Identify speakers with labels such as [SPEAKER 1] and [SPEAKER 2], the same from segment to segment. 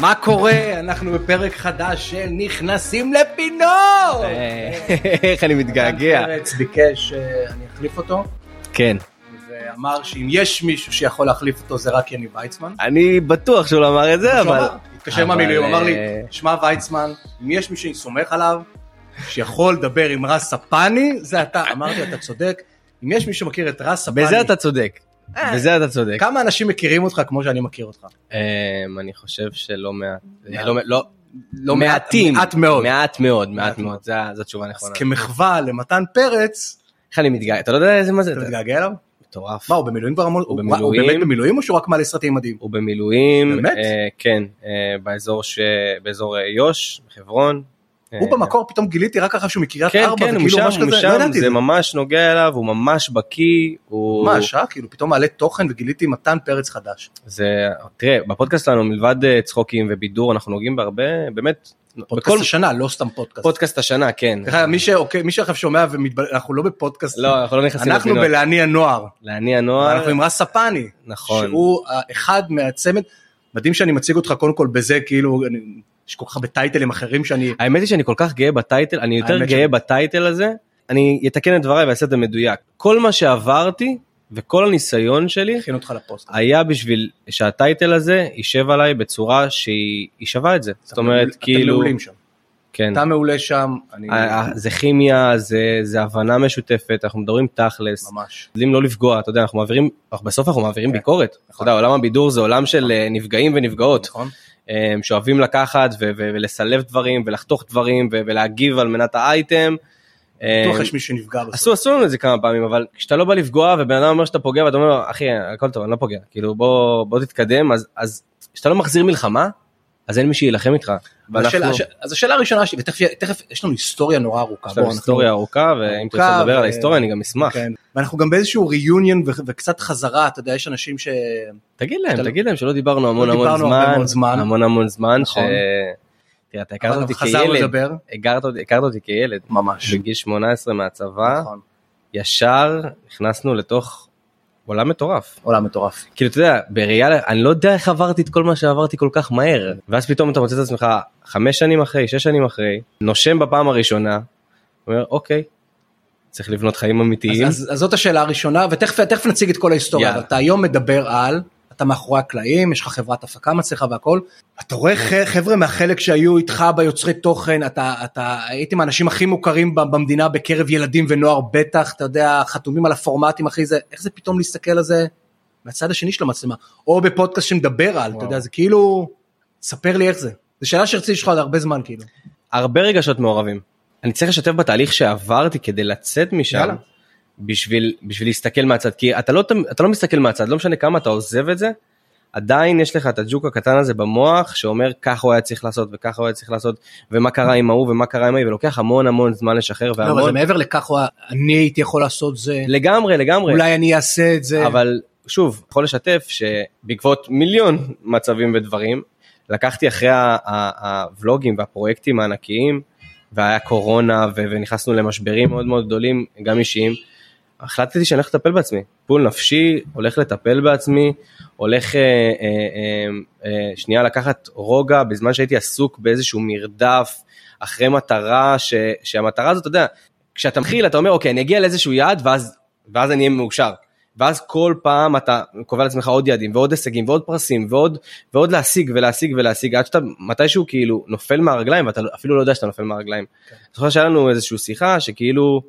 [SPEAKER 1] מה קורה? אנחנו בפרק חדש של נכנסים לפינות!
[SPEAKER 2] אה. איך אני מתגעגע.
[SPEAKER 1] דן פרץ ביקש שאני אחליף אותו,
[SPEAKER 2] כן.
[SPEAKER 1] ואמר שאם יש מישהו שיכול להחליף אותו זה רק יניב ויצמן.
[SPEAKER 2] אני בטוח שהוא לא אמר את זה,
[SPEAKER 1] שהוא
[SPEAKER 2] אבל...
[SPEAKER 1] אמר, התקשר
[SPEAKER 2] אבל,
[SPEAKER 1] מהמילואים, אמר לי,
[SPEAKER 2] אה,
[SPEAKER 1] שמע ויצמן, אם יש מישהו שאני סומך עליו, שיכול לדבר עם רס הפאני, זה אתה. אמרתי, אתה צודק, אם יש מישהו שמכיר את רס הפאני,
[SPEAKER 2] בזה אתה צודק. בזה אתה צודק.
[SPEAKER 1] אה. כמה אנשים מכירים אותך כמו שאני מכיר אותך?
[SPEAKER 2] אמ, אני חושב שלא מעט.
[SPEAKER 1] מעט.
[SPEAKER 2] לא- לא-
[SPEAKER 1] לא מעט,
[SPEAKER 2] מעטים.
[SPEAKER 1] מעט מאוד.
[SPEAKER 2] מעט מאוד, מעט
[SPEAKER 1] מעט
[SPEAKER 2] מאוד.
[SPEAKER 1] מאוד.
[SPEAKER 2] זה ה- זו התשובה
[SPEAKER 1] אז
[SPEAKER 2] הנכונה.
[SPEAKER 1] כמחווה למתן פרץ,
[SPEAKER 2] איך אני מתגעגע? אתה לא יודע איזה מה זה?
[SPEAKER 1] אתה
[SPEAKER 2] אתה-
[SPEAKER 1] מתגעגע אליו?
[SPEAKER 2] מטורף.
[SPEAKER 1] מה, הוא במילואים כבר המון?
[SPEAKER 2] הוא
[SPEAKER 1] הוא- מה, הוא
[SPEAKER 2] במילואים.
[SPEAKER 1] באמת במילואים או שהוא רק מעלה סרטים מדהים?
[SPEAKER 2] הוא במילואים.
[SPEAKER 1] באמת?
[SPEAKER 2] אה, כן, אה, באזור ש- באזור אה, יו"ש, חברון.
[SPEAKER 1] הוא
[SPEAKER 2] אה,
[SPEAKER 1] במקור פתאום גיליתי רק אחר שהוא מקריית
[SPEAKER 2] כן,
[SPEAKER 1] ארבע,
[SPEAKER 2] כן, הוא
[SPEAKER 1] וכאילו
[SPEAKER 2] משם,
[SPEAKER 1] ממש
[SPEAKER 2] הוא
[SPEAKER 1] כזה, לא
[SPEAKER 2] משם,
[SPEAKER 1] ידעתי את
[SPEAKER 2] זה
[SPEAKER 1] זה.
[SPEAKER 2] ממש נוגע אליו, הוא ממש בקיא, הוא...
[SPEAKER 1] ממש, אה? כאילו פתאום מעלה תוכן וגיליתי מתן פרץ חדש.
[SPEAKER 2] זה, תראה, בפודקאסט שלנו מלבד אה, צחוקים ובידור, אנחנו נוגעים בהרבה, באמת, בכל
[SPEAKER 1] פודקאסט השנה, לא סתם פודקאסט.
[SPEAKER 2] פודקאסט השנה, כן.
[SPEAKER 1] דרך אגב, מי שאוקיי, מי שעכשיו שומע ומתבלבל, אנחנו לא בפודקאסט,
[SPEAKER 2] לא, אנחנו לא נכנסים
[SPEAKER 1] אנחנו
[SPEAKER 2] לפינות.
[SPEAKER 1] בלהניע נוער,
[SPEAKER 2] להניע נוער,
[SPEAKER 1] אנחנו עם רס ספני,
[SPEAKER 2] נכון.
[SPEAKER 1] שהוא אחד מהצמד, מדהים שאני מציג אותך קודם כל בזה, כאילו, אני- יש כל כך הרבה טייטלים אחרים שאני,
[SPEAKER 2] האמת היא שאני כל כך גאה בטייטל, אני יותר
[SPEAKER 1] האמת
[SPEAKER 2] גאה
[SPEAKER 1] שאני-
[SPEAKER 2] בטייטל הזה, אני אתקן את דבריי ואעשה את זה מדויק. כל מה שעברתי וכל הניסיון שלי
[SPEAKER 1] הכין אותך לפוסט.
[SPEAKER 2] היה בשביל שהטייטל הזה יישב עליי בצורה שהיא היא שווה את זה. זאת אומרת,
[SPEAKER 1] אתם
[SPEAKER 2] כאילו...
[SPEAKER 1] מעולים שם,
[SPEAKER 2] כן.
[SPEAKER 1] אתה מעולה שם, אני,
[SPEAKER 2] אה, אה, זה כימיה, זה, זה הבנה משותפת, אנחנו מדברים תכלס.
[SPEAKER 1] ממש.
[SPEAKER 2] משתדלים לא לפגוע, אתה יודע, אנחנו מעבירים, אנחנו- בסוף אנחנו מעבירים
[SPEAKER 1] כן.
[SPEAKER 2] ביקורת. אתה
[SPEAKER 1] נכון.
[SPEAKER 2] יודע, עולם הבידור זה עולם של אה, נפגעים ונפגעות,
[SPEAKER 1] נכון?
[SPEAKER 2] אה, שאוהבים לקחת ו- ו- ולסלב דברים ולחתוך דברים ו- ולהגיב על מנת האייטם. אה,
[SPEAKER 1] בטוח יש מי שנפגע
[SPEAKER 2] עשו
[SPEAKER 1] בסוף.
[SPEAKER 2] עשו לנו את זה כמה פעמים אבל כשאתה לא בא לפגוע ובן אדם אומר שאתה פוגע ואתה אומר אחי הכל טוב אני לא פוגע כאילו בוא בוא תתקדם אז אז כשאתה לא מחזיר מלחמה אז אין מי שיילחם איתך.
[SPEAKER 1] השאלה-
[SPEAKER 2] ואנחנו-
[SPEAKER 1] הש- אז השאלה הראשונה שלי, ותכף תכף יש לנו היסטוריה נורא ארוכה.
[SPEAKER 2] יש לנו
[SPEAKER 1] בואו, אנחנו-
[SPEAKER 2] היסטוריה ארוכה ואם
[SPEAKER 1] ארוכה,
[SPEAKER 2] תרצה לדבר
[SPEAKER 1] ו-
[SPEAKER 2] על ההיסטוריה אני גם אשמח.
[SPEAKER 1] כן. ואנחנו גם באיזשהו ריוניון וקצת חזרה, אתה יודע, יש אנשים ש...
[SPEAKER 2] תגיד להם,
[SPEAKER 1] אתה לא-
[SPEAKER 2] תגיד להם שלא דיברנו המון
[SPEAKER 1] לא
[SPEAKER 2] המון
[SPEAKER 1] דיברנו הרבה
[SPEAKER 2] זמן,
[SPEAKER 1] מאוד זמן.
[SPEAKER 2] המון המון זמן, ש...
[SPEAKER 1] נכון.
[SPEAKER 2] תראה, אתה הכרת
[SPEAKER 1] אבל
[SPEAKER 2] אותי
[SPEAKER 1] חזרנו
[SPEAKER 2] כילד,
[SPEAKER 1] לדבר.
[SPEAKER 2] הכרת אותי- הכרת אותי כילד,
[SPEAKER 1] ממש.
[SPEAKER 2] בגיל 18 מהצבא,
[SPEAKER 1] נכון.
[SPEAKER 2] ישר נכנסנו לתוך עולם מטורף.
[SPEAKER 1] עולם מטורף.
[SPEAKER 2] כאילו, אתה יודע, בראייה, אני לא יודע איך עברתי את כל מה שעברתי כל כך מהר, ואז פתאום אתה מוצא את עצמך חמש שנים אחרי, שש שנים אחרי, נושם בפעם הראשונה, אומר, אוקיי, צריך לבנות חיים אמיתיים.
[SPEAKER 1] אז, אז, אז זאת השאלה הראשונה, ותכף תכף נציג את כל ההיסטוריה,
[SPEAKER 2] יאללה.
[SPEAKER 1] אבל אתה היום מדבר על, אתה מאחורי הקלעים, יש לך חברת הפקה מצליחה והכל, אתה רואה ח- חבר'ה מהחלק שהיו איתך ביוצרי תוכן, אתה, אתה הייתם האנשים הכי מוכרים ב- במדינה בקרב ילדים ונוער בטח, אתה יודע, חתומים על הפורמטים אחי זה, איך זה פתאום להסתכל על זה מהצד השני של המצלמה, או בפודקאסט שמדבר על, אתה
[SPEAKER 2] וואו.
[SPEAKER 1] יודע, זה כאילו, ספר לי איך זה. זו שאלה שרציתי לשאול עוד הרבה זמן כאילו.
[SPEAKER 2] הרבה רגשות מעורבים. אני צריך לשתף בתהליך שעברתי כדי לצאת משם
[SPEAKER 1] יאללה.
[SPEAKER 2] בשביל, בשביל להסתכל מהצד כי אתה לא, תמ- אתה לא מסתכל מהצד לא משנה כמה אתה עוזב את זה עדיין יש לך את הג'וק הקטן הזה במוח שאומר ככה הוא היה צריך לעשות וככה הוא היה צריך לעשות ומה קרה עם ההוא ומה קרה עם ההיא ולוקח המון המון זמן לשחרר
[SPEAKER 1] לא, אבל זה
[SPEAKER 2] והמון
[SPEAKER 1] מעבר לכך, הוא ה- אני הייתי יכול לעשות זה,
[SPEAKER 2] לגמרי לגמרי
[SPEAKER 1] אולי אני אעשה את זה.
[SPEAKER 2] אבל שוב יכול לשתף שבעקבות מיליון מצבים ודברים לקחתי אחרי ה- ה- הוולוגים והפרויקטים הענקיים והיה קורונה ו- ונכנסנו למשברים מאוד מאוד גדולים גם אישיים. החלטתי שאני הולך לטפל בעצמי, טיפול נפשי, הולך לטפל בעצמי, הולך אה, אה, אה, אה, שנייה לקחת רוגע בזמן שהייתי עסוק באיזשהו מרדף אחרי מטרה, ש, שהמטרה הזאת, אתה יודע, כשאתה מתחיל אתה אומר אוקיי אני אגיע לאיזשהו יעד ואז, ואז אני אהיה מאושר, ואז כל פעם אתה קובע לעצמך עוד יעדים ועוד הישגים ועוד פרסים ועוד, ועוד להשיג ולהשיג ולהשיג עד שאתה מתישהו כאילו נופל מהרגליים ואתה אפילו לא יודע שאתה נופל מהרגליים.
[SPEAKER 1] כן.
[SPEAKER 2] אני זוכר שהיה לנו איזושהי שיחה שכאילו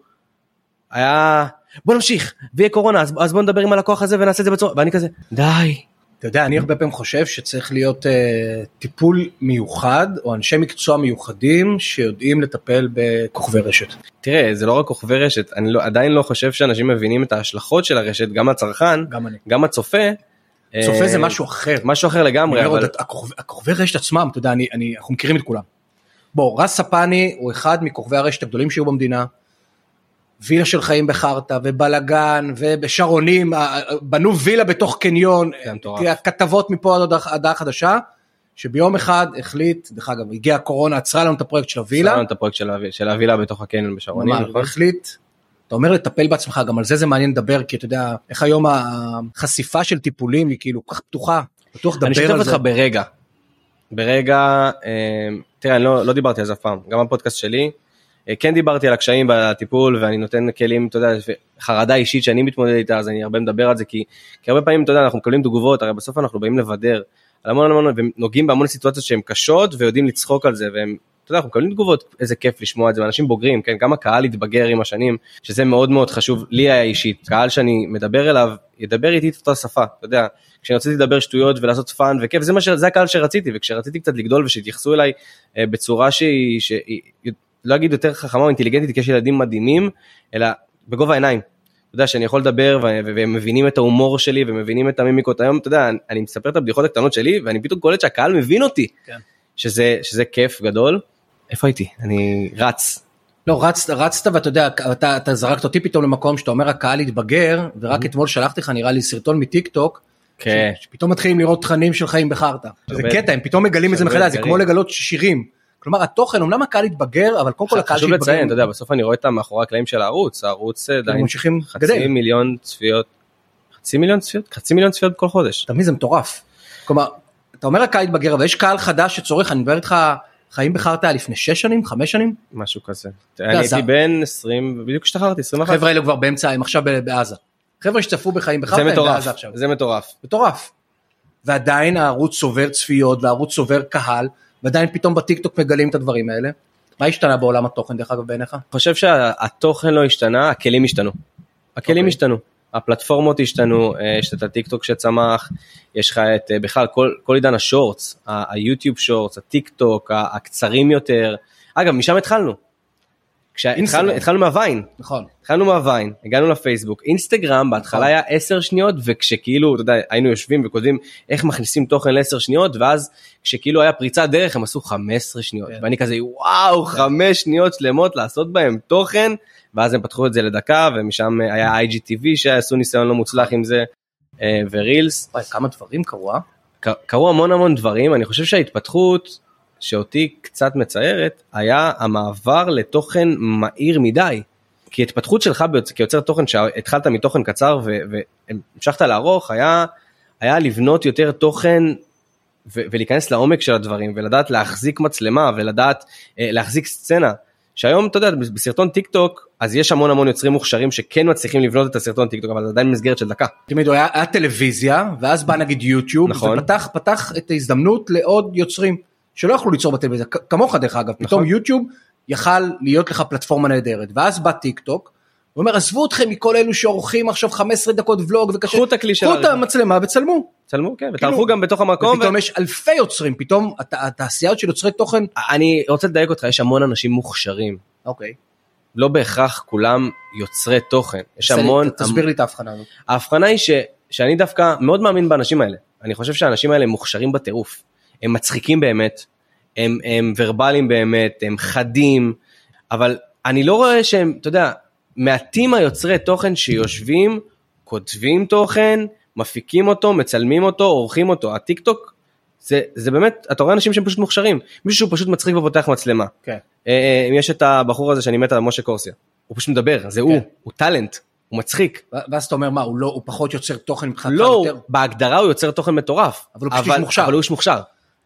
[SPEAKER 2] היה בוא נמשיך ויהיה קורונה אז, אז בוא נדבר עם הלקוח הזה ונעשה את זה בצורה ואני כזה די
[SPEAKER 1] אתה יודע, אני הרבה פעמים חושב שצריך להיות אה, טיפול מיוחד, או אנשי מקצוע מיוחדים שיודעים לטפל בכוכבי רשת.
[SPEAKER 2] תראה זה לא רק כוכבי רשת אני לא, עדיין לא חושב שאנשים מבינים את ההשלכות של הרשת גם הצרכן
[SPEAKER 1] גם אני.
[SPEAKER 2] גם הצופה.
[SPEAKER 1] צופה זה
[SPEAKER 2] אה,
[SPEAKER 1] משהו אחר.
[SPEAKER 2] משהו אחר
[SPEAKER 1] אני
[SPEAKER 2] לגמרי
[SPEAKER 1] אומר
[SPEAKER 2] אבל
[SPEAKER 1] עוד, הכוכב- הכוכבי רשת עצמם, אתה יודע, אני- אני- אנחנו מכירים את כולם. בוא, רס ספני הוא אחד מכוכבי הרשת הגדולים שהיו במדינה. וילה של חיים בחרטא, ובלאגן, ובשרונים, אה, אה, בנו וילה בתוך קניון,
[SPEAKER 2] זה מטורף.
[SPEAKER 1] תראה, כתבות מפה עד הודעה- הודעה חדשה, שביום אחד החליט, דרך אגב, הגיעה הקורונה, עצרה לנו את הפרויקט של הווילה,
[SPEAKER 2] שמנו את הפרויקט של הוו- של הווילה בתוך הקניון בשרונים
[SPEAKER 1] ממש,
[SPEAKER 2] נכון?
[SPEAKER 1] החליט. אתה אומר לטפל בעצמך, גם על זה זה מעניין לדבר, כי אתה יודע, איך היום החשיפה של טיפולים היא כאילו כל כך פתוחה, בטוח
[SPEAKER 2] אני
[SPEAKER 1] דבר
[SPEAKER 2] אשתף
[SPEAKER 1] על זה.
[SPEAKER 2] אותך ברגע. ברגע, אה, תראה, אני לא, לא דיברתי על זה אף פעם, גם בפודקאסט שלי, אה, כן דיברתי על הקשיים בטיפול, ואני נותן כלים, אתה יודע, חרדה אישית שאני מתמודד איתה, אז אני הרבה מדבר על זה, כי, כי הרבה פעמים, אתה יודע, אנחנו מקבלים תגובות, הרי בסוף אנחנו באים לבדר, על המון המון, ונוגעים בהמון סיטואציות שהן קשות, ויודעים לצחוק על זה, והם, אתה יודע, אנחנו מקבלים תגובות, איזה כיף לשמוע את זה, ואנשים בוגרים, כן, גם הקהל התבגר עם השנים, שזה מאוד מאוד חשוב, לי היה אישית, קהל שאני מדבר אליו, ידבר איתי את אותה שפה, אתה יודע, כשאני רציתי לדבר שטויות ולעשות פאן וכיף, זה, ש... זה הקהל שרציתי, וכשרציתי קצת לגדול ושהתייחסו אליי אה, בצורה שהיא, שהיא, לא אגיד יותר חכמה או אינטליגנטית, כי יש ילדים מדהימים, אלא בגובה העיניים. אתה יודע שאני יכול לדבר ו- ו- והם מבינים את ההומור שלי ומבינים את המימיקות היום, אתה יודע, אני, אני מספר את הבדיחות הקטנות שלי ואני פתאום קולט שהקהל מבין אותי,
[SPEAKER 1] כן.
[SPEAKER 2] שזה, שזה כיף גדול. איפה הייתי? אני רץ.
[SPEAKER 1] לא, רצת, רצת ואתה יודע, אתה, אתה זרקת אותי פתאום למקום שאתה אומר הקהל התבגר, ורק אתמול שלחתי לך נראה לי סרטון מטיק טוק,
[SPEAKER 2] Mm-hmm. כן.
[SPEAKER 1] ש- שפתאום מתחילים לראות תכנים של חיים בחרטא. זה
[SPEAKER 2] הרבה-
[SPEAKER 1] קטע, הם פתאום מגלים את זה
[SPEAKER 2] הרבה
[SPEAKER 1] מחדש, זה
[SPEAKER 2] אתגרים.
[SPEAKER 1] כמו לגלות שירים. כלומר התוכן, אמנם הקהל התבגר, אבל קודם כל הקהל
[SPEAKER 2] חשוב לציין, אתה
[SPEAKER 1] שהתבגר,
[SPEAKER 2] יודע, בסוף אני רואה את המאחורי הקלעים של הערוץ, הערוץ אה,
[SPEAKER 1] הם
[SPEAKER 2] עדיין
[SPEAKER 1] ממשיכים
[SPEAKER 2] חצי
[SPEAKER 1] גדל.
[SPEAKER 2] מיליון צפיות, חצי מיליון צפיות? חצי מיליון צפיות כל חודש.
[SPEAKER 1] אתה מבין זה מטורף. כלומר, אתה אומר הקהל התבגר, אבל יש קהל חדש שצורך, אני מדבר איתך, חיים בחרטא לפני שש שנים, חמש שנים,
[SPEAKER 2] משהו כזה. אני הייתי
[SPEAKER 1] לא, זה-
[SPEAKER 2] בן 20, בדיוק השתחררתי, 21.
[SPEAKER 1] החבר'ה האלו כבר באמצע, הם עכשיו ב- בעזה. חבר'ה שצפו בחיים בחרטא,
[SPEAKER 2] זה
[SPEAKER 1] הם
[SPEAKER 2] מטורף,
[SPEAKER 1] בעזה עכשיו.
[SPEAKER 2] זה מטורף.
[SPEAKER 1] מטורף. ועדיין הערוץ צובר צפיות, והערוץ צובר קהל, ועדיין פתאום בטיקטוק מגלים את הדברים האלה. מה השתנה בעולם התוכן דרך אגב בעיניך?
[SPEAKER 2] אני חושב שהתוכן לא השתנה, הכלים השתנו. הכלים
[SPEAKER 1] אוקיי.
[SPEAKER 2] השתנו. הפלטפורמות השתנו, אה, יש את הטיק טוק שצמח, יש לך את, אה, בכלל כל, כל עידן השורטס, ה- היוטיוב שורטס, הטיק טוק, ה- הקצרים יותר. אגב, משם התחלנו.
[SPEAKER 1] אינסטגרם.
[SPEAKER 2] כשהתחלנו התחלנו מהוויין,
[SPEAKER 1] נכון.
[SPEAKER 2] התחלנו מהוויין, הגענו לפייסבוק, אינסטגרם בהתחלה
[SPEAKER 1] נכון.
[SPEAKER 2] היה 10 שניות וכשכאילו, אתה יודע, היינו יושבים וכותבים איך מכניסים תוכן ל-10 שניות ואז כשכאילו היה פריצת דרך הם עשו 15 שניות
[SPEAKER 1] כן.
[SPEAKER 2] ואני כזה וואו 5 שניות שלמות לעשות בהם תוכן ואז הם פתחו את זה לדקה ומשם היה IGTV שעשו ניסיון לא מוצלח עם זה אה, ורילס
[SPEAKER 1] וואי, כמה דברים קרו, אה?
[SPEAKER 2] ק- קרו המון המון דברים, אני חושב שההתפתחות שאותי קצת מצערת, היה המעבר לתוכן מהיר מדי. כי ההתפתחות שלך ביוצ- כיוצר תוכן, שהתחלת מתוכן קצר ו- והמשכת לארוך, היה, היה לבנות יותר תוכן ו- ולהיכנס לעומק של הדברים, ולדעת להחזיק מצלמה, ולדעת אה, להחזיק סצנה. שהיום אתה יודע בסרטון טיק טוק אז יש המון המון יוצרים מוכשרים שכן מצליחים לבנות את הסרטון טיק טוק אבל זה עדיין מסגרת של דקה.
[SPEAKER 1] תמיד הוא היה, היה טלוויזיה, ואז בא נגיד יוטיוב,
[SPEAKER 2] נכון.
[SPEAKER 1] ופתח פתח את ההזדמנות לעוד יוצרים שלא יכלו ליצור בטלוויזיה, כ- כמוך דרך אגב, פתאום
[SPEAKER 2] נכון.
[SPEAKER 1] יוטיוב יכל להיות לך פלטפורמה נהדרת, ואז בא טיק טוק, הוא אומר עזבו אתכם מכל אלו שעורכים עכשיו 15 דקות ולוג וקשה,
[SPEAKER 2] קחו את הכלי של
[SPEAKER 1] קחו את
[SPEAKER 2] העריכה.
[SPEAKER 1] המצלמה וצלמו,
[SPEAKER 2] צלמו כן
[SPEAKER 1] כאילו,
[SPEAKER 2] ותערכו גם בתוך המקום. ו-
[SPEAKER 1] ופתאום יש אלפי יוצרים, פתאום הת- התעשיות של יוצרי תוכן,
[SPEAKER 2] אני רוצה לדייק אותך, יש המון אנשים מוכשרים.
[SPEAKER 1] אוקיי,
[SPEAKER 2] לא בהכרח כולם יוצרי תוכן. יש
[SPEAKER 1] בסדר,
[SPEAKER 2] המון...
[SPEAKER 1] ת- תסביר לי את ההבחנה הזאת.
[SPEAKER 2] ההבחנה היא ש, שאני דווקא מאוד מאמין באנשים האלה. אני חושב שהאנשים האלה מוכשרים בטירוף. הם מצחיקים באמת, הם, הם ורבליים באמת, הם חדים, אבל אני לא רואה שהם, אתה יודע, מעטים היוצרי תוכן שיושבים, כותבים תוכן, מפיקים אותו, מצלמים אותו, עורכים אותו. הטיק טוק, זה, זה באמת, אתה רואה אנשים שהם פשוט מוכשרים. מישהו שהוא פשוט מצחיק ופותח מצלמה.
[SPEAKER 1] כן.
[SPEAKER 2] אה, אה, יש את הבחור הזה שאני מת עליו, משה קורסיה. הוא פשוט מדבר, זה
[SPEAKER 1] כן.
[SPEAKER 2] הוא, הוא טאלנט, הוא מצחיק.
[SPEAKER 1] ו- ואז אתה אומר מה, הוא לא, הוא פחות יוצר תוכן מבחינתך
[SPEAKER 2] לא, הוא-
[SPEAKER 1] יותר,
[SPEAKER 2] בהגדרה הוא יוצר תוכן מטורף.
[SPEAKER 1] אבל הוא פשוט איש מוכשר.
[SPEAKER 2] אבל הוא איש מוכשר.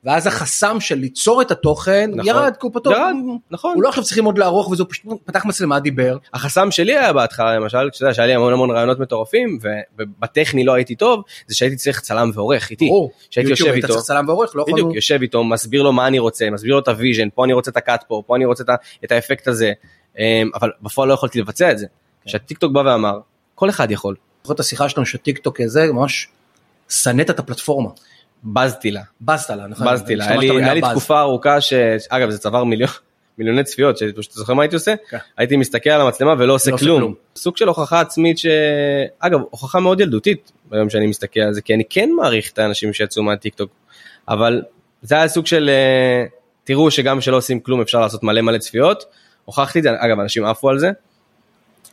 [SPEAKER 1] ואז החסם של ליצור את התוכן
[SPEAKER 2] נכון.
[SPEAKER 1] ירד, כי הוא פתאום,
[SPEAKER 2] ירד, נכון.
[SPEAKER 1] הוא לא עכשיו צריכים עוד לערוך וזה, הוא פשוט פתח מצלמה, דיבר,
[SPEAKER 2] החסם שלי היה בהתחלה, למשל, כשאתה יודע, שהיה לי המון המון רעיונות מטורפים, ו- ובטכני לא הייתי טוב, זה שהייתי צריך צלם ועורך איתי.
[SPEAKER 1] ברור,
[SPEAKER 2] שהייתי
[SPEAKER 1] יוטיוב
[SPEAKER 2] יושב
[SPEAKER 1] היית
[SPEAKER 2] איתו.
[SPEAKER 1] צריך צלם ועורך, לא יכולנו,
[SPEAKER 2] בדיוק, יושב איתו, מסביר לו מה אני רוצה, מסביר לו את הוויז'ן, פה אני רוצה את הקאט פה, פה אני רוצה את ה- את האפקט הזה, אמ, אבל בפועל לא יכולתי לבצע את זה.
[SPEAKER 1] כן.
[SPEAKER 2] כשהטיקטוק בא ואמר, כל אחד יכול,
[SPEAKER 1] זוכר את השיחה שלנו שטיקטוק זה, ממש שנאת את הפלטפורמה,
[SPEAKER 2] בזתי לה.
[SPEAKER 1] בזת לה, נכון?
[SPEAKER 2] בזתי לה, היה לי-
[SPEAKER 1] השתמשת במילה
[SPEAKER 2] היה לי
[SPEAKER 1] בז.
[SPEAKER 2] תקופה ארוכה ש... אגב זה צבר מיליון, מיליוני צפיות, שפשוט אתה זוכר מה הייתי עושה?
[SPEAKER 1] כן.
[SPEAKER 2] הייתי מסתכל על המצלמה ולא עושה
[SPEAKER 1] לא עושה
[SPEAKER 2] כלום.
[SPEAKER 1] כלום.
[SPEAKER 2] סוג של הוכחה עצמית ש... אגב, הוכחה מאוד ילדותית ביום שאני מסתכל על זה, כי אני כן מעריך את האנשים שיצאו מהטיקטוק, אבל זה היה סוג של אה, תראו שגם כשלא עושים כלום אפשר לעשות מלא מלא צפיות, הוכחתי את זה, אגב אנשים עפו על זה.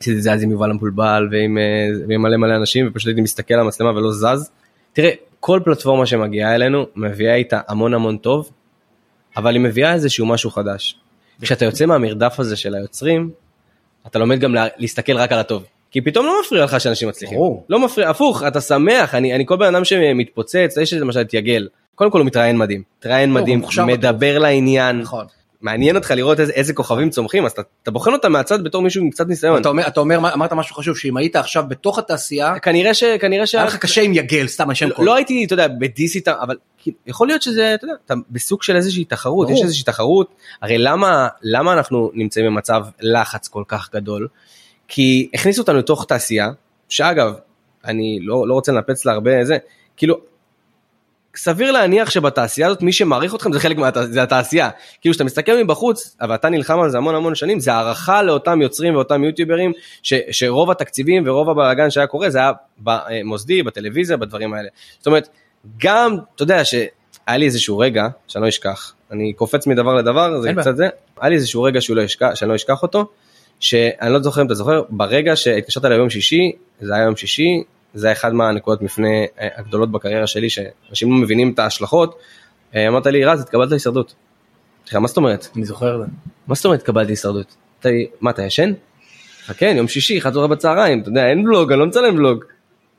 [SPEAKER 2] עשיתי את זה אז עם יובל המבולבל ועם, אה, ועם מלא מלא אנשים ופשוט הייתי מסתכל על המצלמה ולא זז. תראה, כל פלטפורמה שמגיעה אלינו מביאה איתה המון המון טוב, אבל היא מביאה איזשהו משהו חדש. כשאתה יוצא מהמרדף הזה של היוצרים, אתה לומד גם לה- להסתכל רק על הטוב. כי פתאום לא מפריע לך שאנשים מצליחים.
[SPEAKER 1] ברור.
[SPEAKER 2] לא מפריע, הפוך, אתה שמח, אני, אני כל בן אדם שמתפוצץ, יש למשל את יגל, קודם כל הוא מתראיין מדהים, מתראיין
[SPEAKER 1] לא, הוא
[SPEAKER 2] מדהים,
[SPEAKER 1] מוכשר
[SPEAKER 2] מדבר לעניין,
[SPEAKER 1] נכון.
[SPEAKER 2] מעניין אותך לראות איזה- איזה כוכבים צומחים, אז אתה- אתה בוחן אותם מהצד בתור מישהו עם קצת ניסיון.
[SPEAKER 1] אתה אומר, אתה אומר, אמרת משהו חשוב, שאם היית עכשיו בתוך התעשייה,
[SPEAKER 2] כנראה ש... כנראה ש...
[SPEAKER 1] היה לך קשה עם יגל, סתם השם
[SPEAKER 2] לא- לא הייתי, אתה יודע, בדיס איתם, אבל כאילו, יכול להיות שזה, אתה יודע, אתה בסוג של איזושהי תחרות,
[SPEAKER 1] ברור.
[SPEAKER 2] יש איזושהי תחרות, הרי למה, למה אנחנו נמצאים במצב לחץ כל כך גדול? כי הכניסו אותנו לתוך תעשייה, שאגב, אני לא, לא רוצה לנפץ לה הרבה זה, כאילו, סביר להניח שבתעשייה הזאת מי שמעריך אתכם זה חלק מהתעשייה, זה התעשייה. כאילו כשאתה מסתכל מבחוץ, אבל אתה נלחם על זה המון המון שנים, זה הערכה לאותם יוצרים ואותם יוטיוברים, ש, שרוב התקציבים ורוב הבלאגן שהיה קורה זה היה במוסדי, בטלוויזיה, בדברים האלה. זאת אומרת, גם, אתה יודע שהיה לי איזשהו רגע, שאני לא אשכח, אני קופץ מדבר לדבר, זה
[SPEAKER 1] אין
[SPEAKER 2] קצת זה, היה לי איזשהו רגע שהוא לא אשכח, שאני לא אשכח אותו, שאני לא זוכר אם אתה זוכר, ברגע שהתקשרת אליי ביום שישי, זה היה יום שישי, זה היה אחד מהנקודות מפנה אה, הגדולות בקריירה שלי, שאנשים לא מבינים את ההשלכות, אה, אמרת לי, רז, התקבלת להישרדות. אמרתי לך, מה זאת אומרת?
[SPEAKER 1] אני זוכר את זה.
[SPEAKER 2] מה זאת אומרת התקבלתי הישרדות? אתה- מה אתה ישן? "אה, כן יום שישי אחת עשרה בצהריים אתה יודע אין ולוג אני לא מצלם ולוג.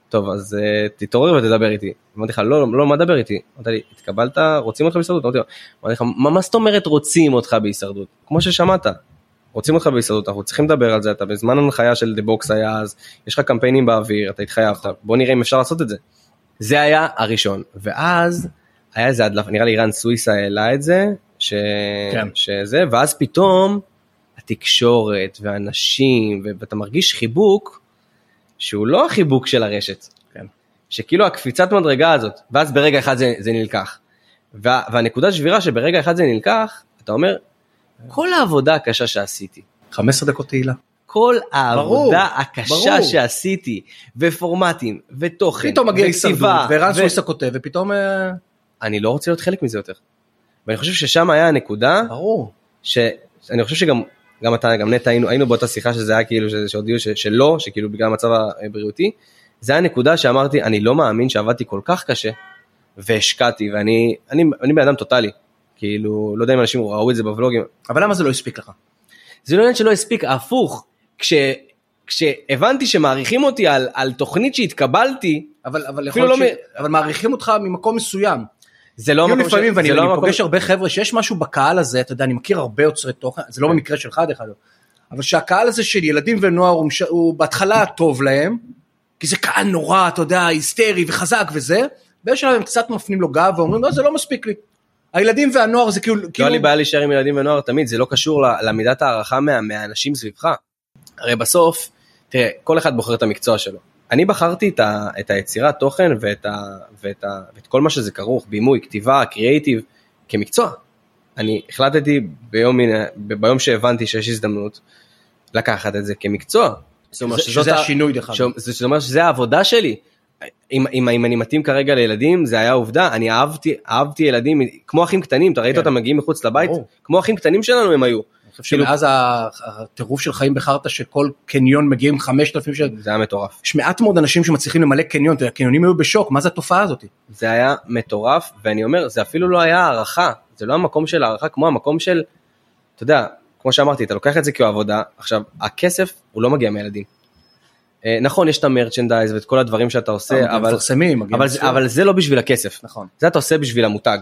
[SPEAKER 2] טוב אז אה, תתעורר ותדבר איתי. אמרתי לך לא לא מה דבר איתי? אמרת לי התקבלת רוצים אותך בהישרדות? אמרתי לו, אמרתי לך מה מה זאת אומרת רוצים אותך בהישרדות? כמו ששמעת. רוצים אותך בהישרדות אנחנו צריכים לדבר על זה אתה בזמן הנחיה של דה בוקס היה אז יש לך קמפיינים באוויר אתה התחייבת בוא נראה אם אפשר לעשות את זה. זה היה הראשון ואז היה איזה הדלפה נראה לי אירן סוויסה העלה את זה ש...
[SPEAKER 1] כן.
[SPEAKER 2] שזה ואז פתאום התקשורת ואנשים ו- ואתה מרגיש חיבוק שהוא לא החיבוק של הרשת.
[SPEAKER 1] כן.
[SPEAKER 2] שכאילו הקפיצת מדרגה הזאת ואז ברגע אחד זה, זה נלקח. וה, והנקודת שבירה שברגע אחד זה נלקח אתה אומר כל העבודה הקשה שעשיתי
[SPEAKER 1] 15 דקות תהילה.
[SPEAKER 2] כל העבודה
[SPEAKER 1] ברור,
[SPEAKER 2] הקשה
[SPEAKER 1] ברור.
[SPEAKER 2] שעשיתי ופורמטים ותוכן
[SPEAKER 1] פתאום מגיע הישרדות,
[SPEAKER 2] וכתיבה,
[SPEAKER 1] וערן
[SPEAKER 2] ו-
[SPEAKER 1] סוויסה כותב, ופתאום... אה,
[SPEAKER 2] אני לא רוצה להיות חלק מזה יותר. ואני חושב ששם היה הנקודה
[SPEAKER 1] ברור.
[SPEAKER 2] שאני חושב שגם גם אתה גם נטע היינו היינו באותה שיחה שזה היה כאילו ש- שהודיעו ש- שלא שכאילו בגלל המצב הבריאותי. זה הנקודה שאמרתי אני לא מאמין שעבדתי כל כך קשה והשקעתי ואני אני אני בן אדם טוטאלי כאילו לא יודע אם אנשים ראו את זה בוולוגים
[SPEAKER 1] אבל למה זה לא הספיק לך?
[SPEAKER 2] זה לא עניין שלא הספיק, הפוך. כש, כשהבנתי שמעריכים אותי על, על תוכנית שהתקבלתי,
[SPEAKER 1] אבל אבל יכול
[SPEAKER 2] אפילו
[SPEAKER 1] להיות
[SPEAKER 2] לא
[SPEAKER 1] ש... אבל מעריכים אותך ממקום מסוים.
[SPEAKER 2] זה לא
[SPEAKER 1] כאילו
[SPEAKER 2] המקום
[SPEAKER 1] לפעמים,
[SPEAKER 2] ש-
[SPEAKER 1] ואני
[SPEAKER 2] זה לא
[SPEAKER 1] אני
[SPEAKER 2] המקום
[SPEAKER 1] פוגש הרבה חבר'ה שיש משהו בקהל הזה, אתה יודע, אני מכיר הרבה יוצרי תוכן, זה
[SPEAKER 2] כן.
[SPEAKER 1] לא במקרה שלך דרך אגב, אבל שהקהל הזה של ילדים ונוער הוא מש- הוא בהתחלה טוב להם, כי זה קהל נורא, אתה יודע, היסטרי וחזק וזה, באיזשהו שלב הם קצת מפנים לו גב ואומרים, לא, זה לא מספיק לי. הילדים והנוער זה כאילו,
[SPEAKER 2] לא
[SPEAKER 1] כאילו,
[SPEAKER 2] היה לי בעיה להישאר עם ילדים ונוער תמיד, זה לא קשור ל- למידת הערכה מה, מהאנשים סביבך. הרי בסוף, תראה, כל אחד בוחר את המקצוע שלו. אני בחרתי את, ה, את היצירת תוכן ואת, ה, ואת, ה, ואת כל מה שזה כרוך, בימוי, כתיבה, קריאייטיב, כמקצוע. אני החלטתי ביום, מן- ב- ביום שהבנתי שיש הזדמנות לקחת את זה כמקצוע. זאת אומרת
[SPEAKER 1] זה-
[SPEAKER 2] שזאת
[SPEAKER 1] שזה
[SPEAKER 2] ה-
[SPEAKER 1] השינוי דרך אגב.
[SPEAKER 2] ש- זה שזה אומר שזה העבודה שלי. אם, אם, אם אני מתאים כרגע לילדים זה היה עובדה אני אהבתי אהבתי ילדים כמו אחים קטנים אתה ראית
[SPEAKER 1] כן.
[SPEAKER 2] אותם מגיעים מחוץ לבית
[SPEAKER 1] ברור.
[SPEAKER 2] כמו אחים קטנים שלנו הם היו
[SPEAKER 1] אני חושב
[SPEAKER 2] כאילו-
[SPEAKER 1] שמאז ה- הטירוף של חיים בחרטא שכל קניון מגיעים 5,000 של...
[SPEAKER 2] זה היה מטורף
[SPEAKER 1] יש מעט מאוד אנשים שמצליחים למלא קניון, אתה יודע, הקניונים היו בשוק, מה זה התופעה הזאת?
[SPEAKER 2] זה היה מטורף ואני אומר זה אפילו לא היה הערכה זה לא המקום של הערכה כמו המקום של אתה יודע כמו שאמרתי אתה לוקח את זה כעבודה עכשיו הכסף הוא לא מגיע מילדים. אה, נכון יש את המרצ'נדייז ואת כל הדברים שאתה עושה אבל,
[SPEAKER 1] מפרסמים, מגיעים
[SPEAKER 2] אבל, זה-
[SPEAKER 1] לסיום.
[SPEAKER 2] אבל זה לא בשביל הכסף
[SPEAKER 1] נכון.
[SPEAKER 2] זה אתה עושה בשביל המותג.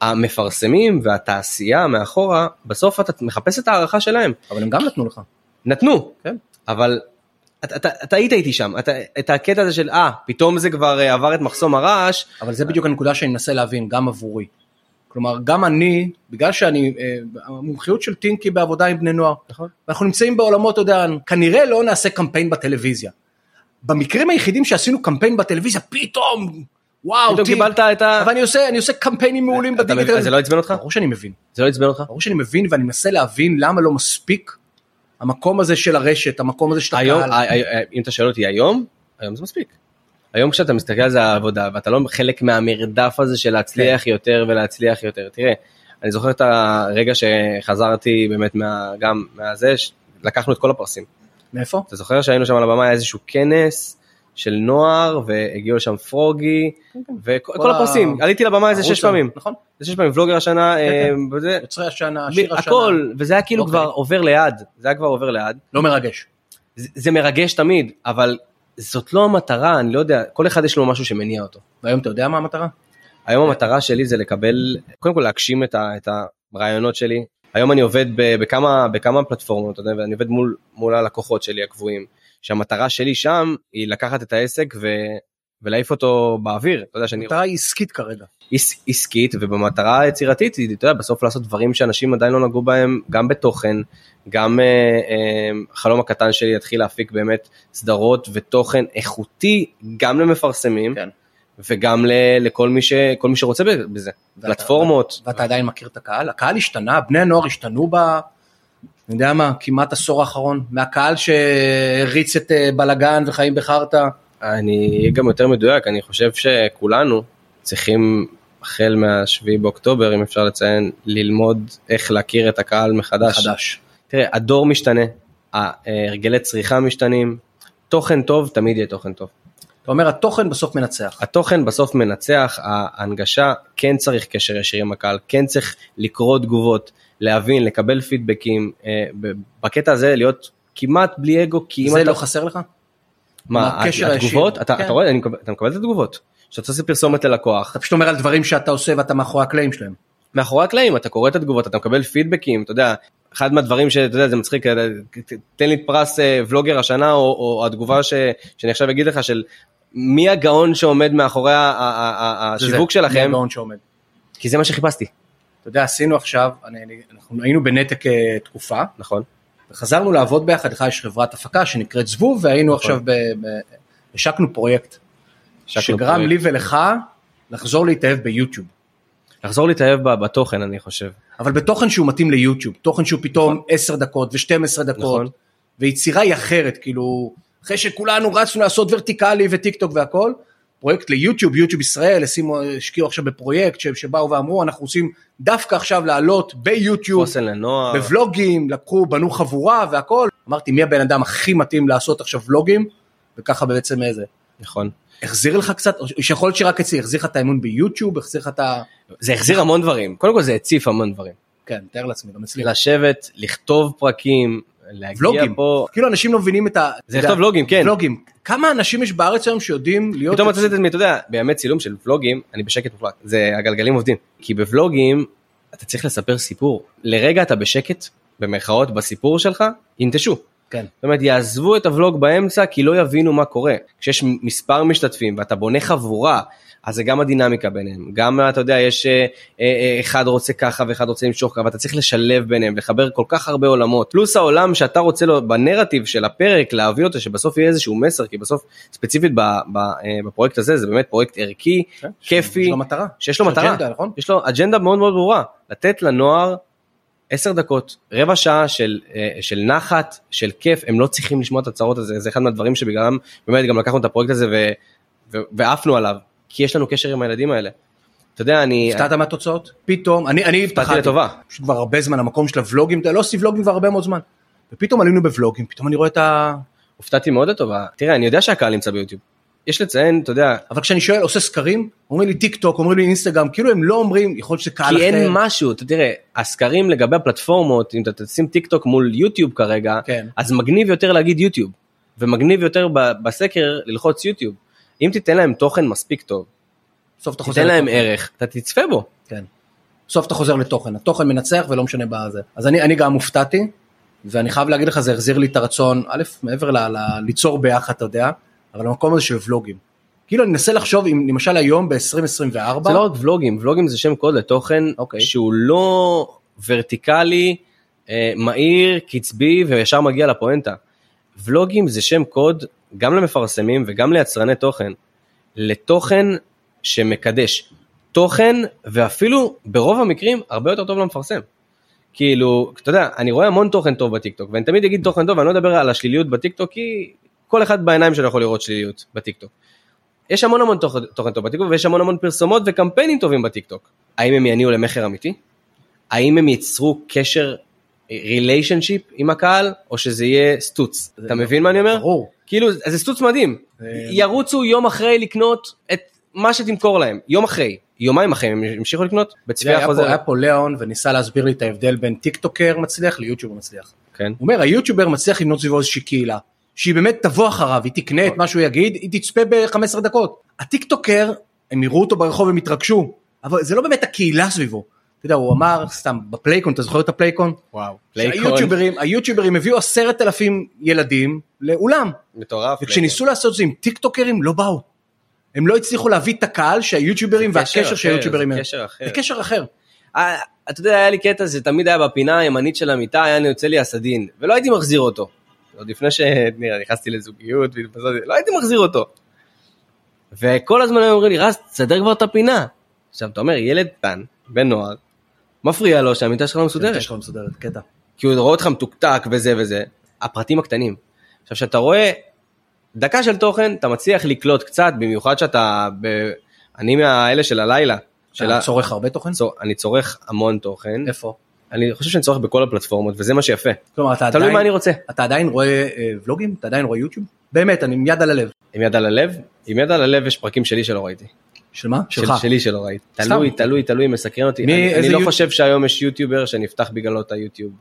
[SPEAKER 2] המפרסמים והתעשייה מאחורה, בסוף אתה מחפש את ההערכה שלהם.
[SPEAKER 1] אבל הם גם נתנו לך.
[SPEAKER 2] נתנו,
[SPEAKER 1] כן.
[SPEAKER 2] אבל אתה, אתה, אתה היית איתי שם, אתה, את הקטע הזה של אה, פתאום זה כבר אה, עבר את מחסום הרעש,
[SPEAKER 1] אבל זה בדיוק הנקודה שאני מנסה להבין, גם עבורי. כלומר, גם אני, בגלל שאני, אה, המומחיות של טינקי בעבודה עם בני נוער.
[SPEAKER 2] נכון.
[SPEAKER 1] ואנחנו נמצאים בעולמות, אתה יודע, כנראה לא נעשה קמפיין בטלוויזיה. במקרים היחידים שעשינו קמפיין בטלוויזיה, פתאום, וואו,
[SPEAKER 2] פתאום
[SPEAKER 1] טינק.
[SPEAKER 2] קיבלת את ה...
[SPEAKER 1] אבל אני עושה, אני עושה קמפיינים מעולים
[SPEAKER 2] אתה מבין,
[SPEAKER 1] בדיגיטל.
[SPEAKER 2] אז זה לא עצבן אותך?
[SPEAKER 1] ברור שאני מבין.
[SPEAKER 2] זה לא עצבן אותך?
[SPEAKER 1] ברור שאני מבין, ואני מנסה להבין למה לא מספיק המקום הזה של הרשת, המקום הזה של
[SPEAKER 2] היום,
[SPEAKER 1] הקהל.
[SPEAKER 2] ה- ה- ה- אם אתה שואל אותי היום, היום זה מספיק. היום כשאתה מסתכל על זה העבודה ואתה לא חלק מהמרדף הזה של להצליח
[SPEAKER 1] כן.
[SPEAKER 2] יותר ולהצליח יותר. תראה, אני זוכר את הרגע שחזרתי באמת מה, גם מהזה, ש- לקחנו את כל הפרסים.
[SPEAKER 1] מאיפה?
[SPEAKER 2] אתה זוכר שהיינו שם על הבמה היה איזשהו כנס של נוער והגיעו לשם פרוגי
[SPEAKER 1] כן. כל
[SPEAKER 2] וכל
[SPEAKER 1] ה-
[SPEAKER 2] הפרסים. עליתי לבמה איזה
[SPEAKER 1] ערוץ
[SPEAKER 2] שש
[SPEAKER 1] ה-
[SPEAKER 2] פעמים.
[SPEAKER 1] נכון.
[SPEAKER 2] זה שש פעמים וולוגר השנה, אה,
[SPEAKER 1] כן.
[SPEAKER 2] וזה-
[SPEAKER 1] יוצרי השנה, שיר השנה.
[SPEAKER 2] הכל, וזה היה כאילו
[SPEAKER 1] אוקיי.
[SPEAKER 2] כבר עובר ליד. זה היה כבר עובר ליד.
[SPEAKER 1] לא מרגש.
[SPEAKER 2] זה זה מרגש תמיד, אבל זאת לא המטרה, אני לא יודע, כל אחד יש לו משהו שמניע אותו.
[SPEAKER 1] והיום אתה יודע מה המטרה?
[SPEAKER 2] היום המטרה שלי זה לקבל, קודם כל להגשים את, ה, את הרעיונות שלי. היום אני עובד ב, בכמה, בכמה פלטפורמות, אתה יודע, ואני עובד מול, מול הלקוחות שלי הקבועים, שהמטרה שלי שם היא לקחת את העסק ו, ולהעיף אותו באוויר, אתה יודע שאני...
[SPEAKER 1] המטרה היא עסקית כרגע.
[SPEAKER 2] עס- עסקית ובמטרה היצירתית היא אתה יודע, בסוף לעשות דברים שאנשים עדיין לא נגעו בהם גם בתוכן גם אה, אה, חלום הקטן שלי יתחיל להפיק באמת סדרות ותוכן איכותי גם למפרסמים
[SPEAKER 3] כן.
[SPEAKER 2] וגם ל- לכל מי, ש, כל מי שרוצה בזה
[SPEAKER 1] ואתה-
[SPEAKER 2] פלטפורמות
[SPEAKER 1] ואתה עדיין מכיר את הקהל? הקהל השתנה, בני הנוער השתנו ב... אני יודע מה, כמעט עשור האחרון, מהקהל שהריץ את אה, בלגן וחיים בחרטא.
[SPEAKER 2] אני אהיה גם יותר מדויק אני חושב שכולנו צריכים החל מהשביעי באוקטובר אם אפשר לציין ללמוד איך להכיר את הקהל מחדש.
[SPEAKER 1] חדש.
[SPEAKER 2] תראה, הדור משתנה, הרגלי צריכה משתנים, תוכן טוב תמיד יהיה תוכן טוב.
[SPEAKER 1] אתה אומר התוכן בסוף מנצח.
[SPEAKER 2] התוכן בסוף מנצח, ההנגשה כן צריך קשר ישיר עם הקהל, כן צריך לקרוא תגובות, להבין, לקבל פידבקים, אה, ב- בקטע הזה להיות כמעט בלי אגו, כי אם
[SPEAKER 1] זה
[SPEAKER 2] אתה...
[SPEAKER 1] לא חסר לך?
[SPEAKER 2] מה,
[SPEAKER 1] הקשר הישיר.
[SPEAKER 2] התגובות? אתה
[SPEAKER 1] כן.
[SPEAKER 2] אתה רואה, אני מקבל- אתה מקבל את התגובות. כשאתה עושה פרסומת ללקוח,
[SPEAKER 1] אתה פשוט אומר על דברים שאתה עושה ואתה מאחורי הקלעים שלהם.
[SPEAKER 2] מאחורי הקלעים אתה קורא את התגובות אתה מקבל פידבקים אתה יודע אחד מהדברים שאתה יודע זה מצחיק אתה יודע, ת- תן לי את פרס אה, ולוגר השנה או, או התגובה ש, שאני עכשיו אגיד לך של מי הגאון שעומד מאחורי ה- ה- ה- ה-
[SPEAKER 1] זה
[SPEAKER 2] השיווק
[SPEAKER 1] זה,
[SPEAKER 2] שלכם
[SPEAKER 1] מהגאון שעומד.
[SPEAKER 2] כי זה מה שחיפשתי
[SPEAKER 1] אתה יודע, עשינו עכשיו, אני, אני- אנחנו היינו בנתק אה, תקופה,
[SPEAKER 2] נכון
[SPEAKER 1] וחזרנו לעבוד ביחד, לך יש חברת הפקה שנקראת זבוב, והיינו
[SPEAKER 2] נכון.
[SPEAKER 1] עכשיו, ב, ב, השקנו פרויקט,
[SPEAKER 2] השקנו
[SPEAKER 1] שגרם
[SPEAKER 2] פרויקט.
[SPEAKER 1] לי ולך לחזור להתאהב ביוטיוב.
[SPEAKER 2] לחזור להתאהב ב- בתוכן אני חושב
[SPEAKER 1] אבל בתוכן שהוא מתאים ליוטיוב, תוכן שהוא פתאום 10 דקות ו-12
[SPEAKER 2] נכון.
[SPEAKER 1] דקות, ויצירה היא אחרת, כאילו, אחרי שכולנו רצנו לעשות ורטיקלי וטיק טוק והכל, פרויקט ליוטיוב, יוטיוב ישראל, השימו, השקיעו עכשיו בפרויקט שהם- שבאו ואמרו, אנחנו רוצים דווקא עכשיו לעלות ביוטיוב,
[SPEAKER 2] חוסן לנוער
[SPEAKER 1] בוולוגים, לקחו, בנו חבורה והכל, אמרתי, מי הבן אדם הכי מתאים לעשות עכשיו ולוגים, וככה בעצם איזה.
[SPEAKER 2] נכון
[SPEAKER 1] החזיר לך קצת, או שיכול להיות שרק אצלי, החזיר לך את האמון ביוטיוב, החזיר לך את ה...
[SPEAKER 2] זה החזיר המון דברים קודם כל זה הציף המון דברים
[SPEAKER 1] כן, תאר לעצמי, גם אצלי.
[SPEAKER 2] לשבת לכתוב פרקים להגיע
[SPEAKER 1] ולוגים.
[SPEAKER 2] פה
[SPEAKER 1] כאילו אנשים לא מבינים את ה... אתה
[SPEAKER 2] זה
[SPEAKER 1] יודע,
[SPEAKER 2] לכתוב ולוגים כן
[SPEAKER 1] ולוגים. כמה אנשים יש בארץ היום שיודעים להיות...
[SPEAKER 2] פתאום מצאתי את עצמי, אתה יודע, בימי צילום של ולוגים, אני בשקט מוחלט, זה הגלגלים עובדים. כי בוולוגים אתה צריך לספר סיפור. לרגע אתה בשקט, במרכאות, בסיפור שלך, ינטשו.
[SPEAKER 1] כן.
[SPEAKER 2] זאת אומרת, יעזבו את הוולוג באמצע כי לא יבינו מה קורה. כשיש מספר משתתפים ואתה בונה חבורה, אז זה גם הדינמיקה ביניהם. גם, אתה יודע, יש אה, אה, אה, אחד רוצה ככה ואחד רוצה למשוך ככה, ואתה צריך לשלב ביניהם, לחבר כל כך הרבה עולמות. פלוס העולם שאתה רוצה לו, בנרטיב של הפרק, להביא אותו, שבסוף יהיה איזשהו מסר, כי בסוף, ספציפית ב, ב, אה, בפרויקט הזה, זה באמת פרויקט ערכי,
[SPEAKER 1] כן,
[SPEAKER 2] אה? כיפי,
[SPEAKER 1] יש לו מטרה.
[SPEAKER 2] שיש לו מטרה. אה.
[SPEAKER 1] אג'נדה, נכון?
[SPEAKER 2] יש לו אג'נדה מאוד מאוד ברורה, לתת לנוער עשר דקות, רבע שעה של, אה, של נחת, של כיף, הם לא צריכים לשמוע את הצרות הזה, זה אחד מהדברים שבגללם באמת גם לקחנו את הפרויקט הזה ו, ו, ועפנו עליו, כי יש לנו קשר עם הילדים האלה. אתה יודע, אני...
[SPEAKER 1] הפתעת מהתוצאות? פתאום, אני אני
[SPEAKER 2] הפתעתי
[SPEAKER 1] הבטחתי,
[SPEAKER 2] לטובה.
[SPEAKER 1] פשוט כבר הרבה זמן, המקום של הוולוגים, אתה יודע, לא עושים ולוגים כבר הרבה מאוד זמן. ופתאום עלינו בוולוגים, פתאום אני רואה את ה...
[SPEAKER 2] הופתעתי מאוד לטובה. תראה, אני יודע שהקהל נמצא ביוטיוב. יש לציין, אתה יודע,
[SPEAKER 1] אבל כשאני שואל, עושה סקרים, אומרים לי טיק טוק, אומרים לי אינסטגרם, כאילו הם לא אומרים, יכול להיות שזה קהל אחר.
[SPEAKER 2] כי אין משהו, אתה תראה, הסקרים לגבי הפלטפורמות, אם אתה תשים טיק טוק מול יוטיוב כרגע,
[SPEAKER 1] כן.
[SPEAKER 2] אז מגניב יותר להגיד יוטיוב, ומגניב יותר ב- בסקר ללחוץ יוטיוב. אם תיתן להם תוכן מספיק טוב,
[SPEAKER 1] בסוף אתה חוזר
[SPEAKER 2] תיתן להם
[SPEAKER 1] לתוכן.
[SPEAKER 2] ערך, אתה תצפה בו.
[SPEAKER 1] כן. בסוף אתה חוזר לתוכן, התוכן מנצח ולא משנה מה זה. אז אני, אני גם הופתעתי, ואני חייב להגיד לך, זה החזיר לי את הרצון, א', מעבר ל, ל, ליצור ביחד, אתה יודע, אבל המקום הזה של ולוגים. כאילו אני מנסה לחשוב אם למשל היום ב-2024,
[SPEAKER 2] זה לא רק ולוגים, ולוגים זה שם קוד לתוכן
[SPEAKER 1] אוקיי.
[SPEAKER 2] שהוא לא ורטיקלי, אה, מהיר, קצבי וישר מגיע לפואנטה. ולוגים זה שם קוד גם למפרסמים וגם ליצרני תוכן, לתוכן שמקדש. תוכן ואפילו ברוב המקרים הרבה יותר טוב למפרסם. כאילו, אתה יודע, אני רואה המון תוכן טוב בטיקטוק, ואני תמיד אגיד תוכן טוב, ואני לא אדבר על השליליות בטיקטוק, כי כל אחד בעיניים שלו יכול לראות שליליות בטיקטוק. יש המון המון תוכן, תוכן טוב בטיקטוק, ויש המון המון פרסומות וקמפיינים טובים בטיקטוק. האם הם יניעו למכר אמיתי? האם הם ייצרו קשר, ריליישנשיפ עם הקהל, או שזה יהיה סטוץ? אתה מבין מה אני אומר?
[SPEAKER 1] ברור. אה,
[SPEAKER 2] כאילו, אז זה סטוץ מדהים. ירוצו יום אחרי לקנות את מה שתמכור להם, יום אחרי. יומיים אחרי הם המשיכו לקנות בצפייה
[SPEAKER 1] היה פה, היה
[SPEAKER 2] חוזרת.
[SPEAKER 1] פה ליאון וניסה להסביר לי את ההבדל בין טיק טוקר מצליח ליוטיובר מצליח.
[SPEAKER 2] כן.
[SPEAKER 1] הוא אומר היוטיובר מצליח לבנות סביבו איזושהי קהילה,
[SPEAKER 4] נכון.
[SPEAKER 1] שהיא באמת תבוא אחריו, היא תקנה את מה שהוא יגיד, היא תצפה ב-15 דקות. הטיקטוקר הם יראו אותו ברחוב הם יתרגשו, אבל זה לא באמת הקהילה סביבו. אתה יודע, הוא אמר, סתם, בפלייקון, אתה זוכר את הפלייקון?
[SPEAKER 4] וואו,
[SPEAKER 1] שהיוטיוברים, היוטיוברים הביאו עשרת אלפים ילדים לאולם,
[SPEAKER 4] מטורף.
[SPEAKER 1] וכשניסו לעשות את זה עם טיק טוקרים לא באו. הם לא הצליחו להביא את הקהל שהיוטיוברים
[SPEAKER 4] זה קשר
[SPEAKER 1] והקשר
[SPEAKER 4] אחר,
[SPEAKER 1] שהיוטיוברים
[SPEAKER 4] זה
[SPEAKER 1] הם.
[SPEAKER 4] קשר אחר. כן,
[SPEAKER 1] זה קשר אחר.
[SPEAKER 2] אה, אתה יודע, היה לי קטע, זה תמיד היה בפינה הימנית של המיטה, היה יוצא לי הסדין, ולא הייתי מחזיר אותו.
[SPEAKER 4] עוד לפני שנכנסתי לזוגיות והתבזרתי, לא הייתי מחזיר אותו.
[SPEAKER 2] וכל הזמן היו אומרים לי, רז, תסדר כבר את הפינה. עכשיו, אתה אומר, ילד קטן, בן נוער, מפריע לו שהמיטה שלך לא מסודרת.
[SPEAKER 4] כן.
[SPEAKER 1] יש לך מסודרת, קטע.
[SPEAKER 2] כי הוא רואה אותך מתוקתק וזה וזה, הפרטים הקטנים. עכשיו כשאתה רואה דקה של תוכן, אתה מצליח לקלוט קצת, במיוחד שאתה, ב... אני מהאלה של הלילה, של ה...
[SPEAKER 1] שאלה... צורך הרבה תוכן?
[SPEAKER 2] צור... אני צורך המון תוכן,
[SPEAKER 1] איפה?
[SPEAKER 2] אני חושב שאני צורך בכל הפלטפורמות וזה מה שיפה,
[SPEAKER 1] כלומר, אתה
[SPEAKER 2] תלוי מה אני
[SPEAKER 1] עדיין,
[SPEAKER 2] רוצה.
[SPEAKER 1] אתה עדיין רואה אה, ולוגים? אתה עדיין רואה יוטיוב? באמת, אני עם יד על הלב.
[SPEAKER 2] עם יד על הלב, עם יד על הלב יש פרקים שלי שלא ראיתי,
[SPEAKER 1] של מה?
[SPEAKER 2] של-
[SPEAKER 1] שלך.
[SPEAKER 2] שלי שלא ראיתי,
[SPEAKER 1] סתם.
[SPEAKER 2] תלוי תלוי תלוי מסקרן אותי,
[SPEAKER 1] מי-
[SPEAKER 2] אני, אני
[SPEAKER 1] איזה
[SPEAKER 2] לא
[SPEAKER 1] יוט-
[SPEAKER 2] חושב שהיום יש יוטיובר שנפתח בגללו את היוטיוב,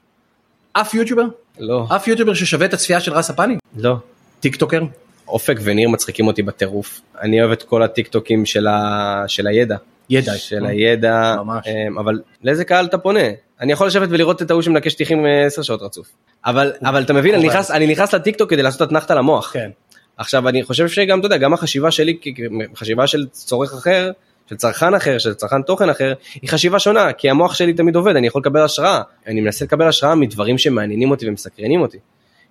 [SPEAKER 1] אף יוטיובר?
[SPEAKER 2] לא,
[SPEAKER 1] אף יוטיובר ששווה את הצפייה של רס הפאני?
[SPEAKER 2] לא,
[SPEAKER 1] טיק טוקר?
[SPEAKER 2] אופק וניר מצחיקים אותי בטירוף. אני אוהב את כל הטיקטוקים של, ה... של הידע.
[SPEAKER 1] ידע. אה.
[SPEAKER 2] של הידע.
[SPEAKER 1] ממש.
[SPEAKER 2] אמ, אבל לאיזה קהל אתה פונה? אני יכול לשבת ולראות את ההוא שמנקש טיחים אה, 10 שעות רצוף. אבל, אבל אתה מבין, אני
[SPEAKER 1] קורה.
[SPEAKER 2] נכנס, אני נכנס לטיקטוק כדי לעשות אתנחתה למוח.
[SPEAKER 1] כן.
[SPEAKER 2] עכשיו אני חושב שגם, אתה יודע, גם החשיבה שלי, כ- כ- חשיבה של צורך אחר, של צרכן אחר, של צרכן תוכן אחר, היא חשיבה שונה, כי המוח שלי תמיד עובד, אני יכול לקבל השראה. אני מנסה לקבל השראה מדברים שמעניינים אותי ומסקרנים אותי.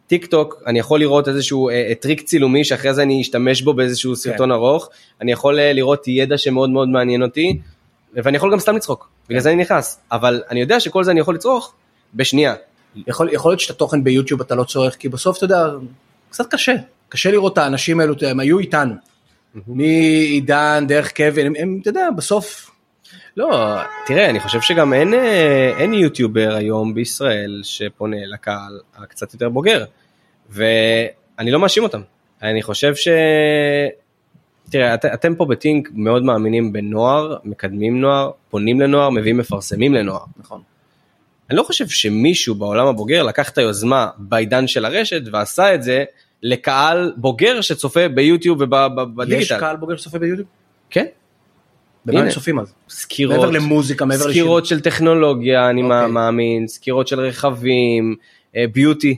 [SPEAKER 2] טיק טוק, אני יכול לראות איזשהו אה, אה, טריק צילומי שאחרי זה אני אשתמש בו באיזשהו סרטון ארוך, אני יכול אה, לראות ידע שמאוד מאוד מעניין אותי, ואני יכול גם סתם לצחוק, בגלל זה אני נכנס, אבל אני יודע שכל זה אני יכול לצרוך בשנייה.
[SPEAKER 1] יכול, יכול להיות שאת התוכן ביוטיוב אתה לא צורך, כי בסוף אתה יודע, קצת קשה. קשה לראות את האנשים האלו, הם היו איתנו. מעידן, דרך קווין, הם, הם, אתה יודע, בסוף,
[SPEAKER 2] לא, תראה, אני חושב שגם אין, אה, אין יוטיובר היום בישראל שפונה לקהל הקצת יותר בוגר, ואני לא מאשים אותם. אני חושב ש... תראה, את, אתם פה בטינק מאוד מאמינים בנוער, מקדמים נוער, פונים לנוער, מביאים מפרסמים לנוער.
[SPEAKER 1] נכון.
[SPEAKER 2] אני לא חושב שמישהו בעולם הבוגר לקח את היוזמה בעידן של הרשת ועשה את זה לקהל בוגר שצופה ביוטיוב ובדיגיטל.
[SPEAKER 1] יש קהל בוגר שצופה ביוטיוב?
[SPEAKER 2] כן.
[SPEAKER 1] במה הם
[SPEAKER 2] הנה.
[SPEAKER 1] צופים אז?
[SPEAKER 2] סקירות.
[SPEAKER 1] מעבר למוזיקה, מעבר לשירים.
[SPEAKER 2] סקירות של טכנולוגיה, אני
[SPEAKER 1] אוקיי.
[SPEAKER 2] מאמין, סקירות של רכבים, אה, ביוטי,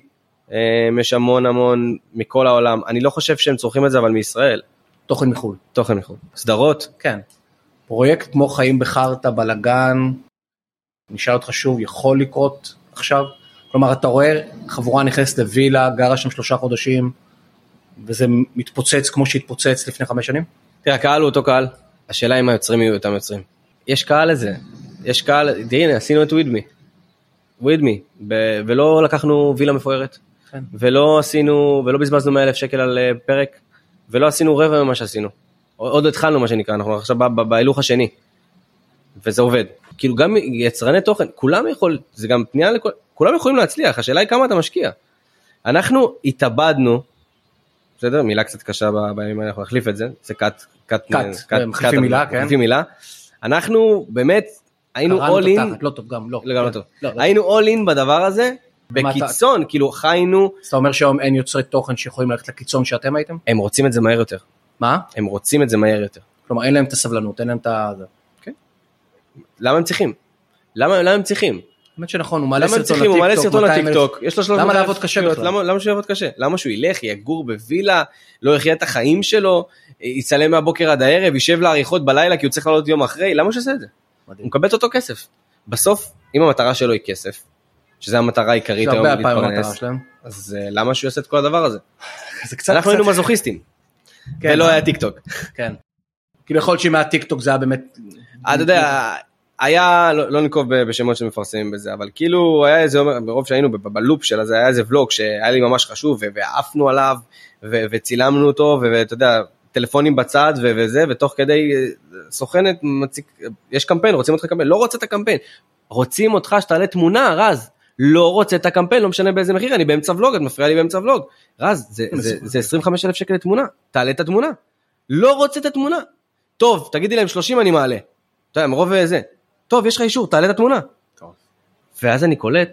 [SPEAKER 2] אה, יש המון המון מכל העולם. אני לא חושב שהם צורכים את זה, אבל מישראל,
[SPEAKER 1] תוכן מחו"ל.
[SPEAKER 2] תוכן מחו"ל. סדרות,
[SPEAKER 1] כן. פרויקט כמו חיים בחרטא, בלאגן, נשאל אותך שוב, יכול לקרות עכשיו? כלומר, אתה רואה חבורה נכנסת לווילה, גרה שם שלושה חודשים, וזה מתפוצץ כמו שהתפוצץ לפני חמש שנים?
[SPEAKER 2] תראה, הקהל הוא אותו קהל, השאלה אם היוצרים יהיו אותם יוצרים. יש קהל לזה, יש קהל, תראי, הנה, עשינו את ווידמי, ווידמי, ב- ולא לקחנו וילה מפוארת,
[SPEAKER 1] כן.
[SPEAKER 2] ולא עשינו, ולא בזבזנו 100 אלף שקל על אה, פרק, ולא עשינו רבע ממה שעשינו. עוד עוד לא התחלנו מה שנקרא, אנחנו עכשיו ב- ב- בהילוך השני, וזה עובד. כאילו גם יצרני תוכן, כולם יכול, זה גם פנייה לכל, כולם יכולים להצליח, השאלה היא כמה אתה משקיע. אנחנו התאבדנו, בסדר? מילה קצת קשה ב- בימים האלה, אנחנו נחליף את זה, זה קאט, קאט,
[SPEAKER 1] קאט, מחליפים מילה, כן.
[SPEAKER 2] מחליפים מילה. אנחנו באמת היינו
[SPEAKER 1] קראנו
[SPEAKER 2] all
[SPEAKER 1] את
[SPEAKER 2] in,
[SPEAKER 1] התחת, לא טוב, גם לא.
[SPEAKER 2] לגמרי טוב.
[SPEAKER 1] לא, לא.
[SPEAKER 2] היינו all in בדבר הזה,
[SPEAKER 1] מה אתה-
[SPEAKER 2] בקיצון, כאילו חיינו,
[SPEAKER 1] אז אתה אומר שהיום אין יוצרי תוכן שיכולים ללכת לקיצון שאתם הייתם?
[SPEAKER 2] הם רוצים את זה מהר יותר,
[SPEAKER 1] מה?
[SPEAKER 2] הם רוצים את זה מהר יותר.
[SPEAKER 1] כלומר, אין להם את הסבלנות, אין להם את ה... זה.
[SPEAKER 2] למה הם צריכים? למה למה הם צריכים?
[SPEAKER 1] האמת שנכון, הוא מעלה
[SPEAKER 2] למה הם
[SPEAKER 1] סרטון
[SPEAKER 2] צריכים? הוא מעלה סרטון
[SPEAKER 1] 200,000.
[SPEAKER 2] לטיקטוק, יש לו 300
[SPEAKER 1] למה לעבוד קשה
[SPEAKER 2] צפיות,
[SPEAKER 1] בכלל?
[SPEAKER 2] למה- למה שהוא יעבוד קשה? למה שהוא ילך, יגור בווילה, לא יחיה את החיים שלו, יצלם מהבוקר עד הערב, יישב לעריכות בלילה כי הוא צריך לעלות יום אחרי, למה שהוא יעשה את זה? הוא
[SPEAKER 1] מדהים.
[SPEAKER 2] מקבל את אותו כסף. בסוף, אם המטרה שלו היא כסף, שזה המטרה העיקרית
[SPEAKER 1] זה
[SPEAKER 2] היום
[SPEAKER 1] הרבה פעמים המטרה
[SPEAKER 2] להתפרנס,
[SPEAKER 1] שלהם.
[SPEAKER 2] אז אה, למה שהוא יעשה את כל הדבר הזה?
[SPEAKER 1] זה קצת...
[SPEAKER 2] אנחנו
[SPEAKER 1] קצת-
[SPEAKER 2] היינו מזוכיסטים,
[SPEAKER 1] כן,
[SPEAKER 2] ולא היה טיקטוק.
[SPEAKER 1] כן. כאילו יכול להיות שמהטיקטוק זה היה באמת...
[SPEAKER 2] אה, אתה יודע, היה, לא לא ננקוב ב- בשמות שמפרסמים בזה, אבל כאילו היה איזה, יום- מרוב שהיינו ב- בלופ שלה, זה היה איזה ולוג שהיה לי ממש חשוב, ו- ועפנו עליו, ו- וצילמנו אותו, ו- ואתה יודע, טלפונים בצד ו- וזה, ותוך כדי אה, סוכנת, מציק, יש קמפיין, רוצים אותך קמפיין, לא רוצה את הקמפיין, רוצים אותך שתעלה תמונה, רז. לא רוצה את הקמפיין, לא משנה באיזה מחיר, אני באמצע ולוג, את מפריעה לי באמצע ולוג. רז, זה, זה, זה 25 אלף שקל לתמונה, תעלה את התמונה. לא רוצה את התמונה. טוב, תגידי להם 30 אני מעלה. אתה יודע, מרוב אה, זה. טוב, יש לך אישור, תעלה את התמונה. ואז אני קולט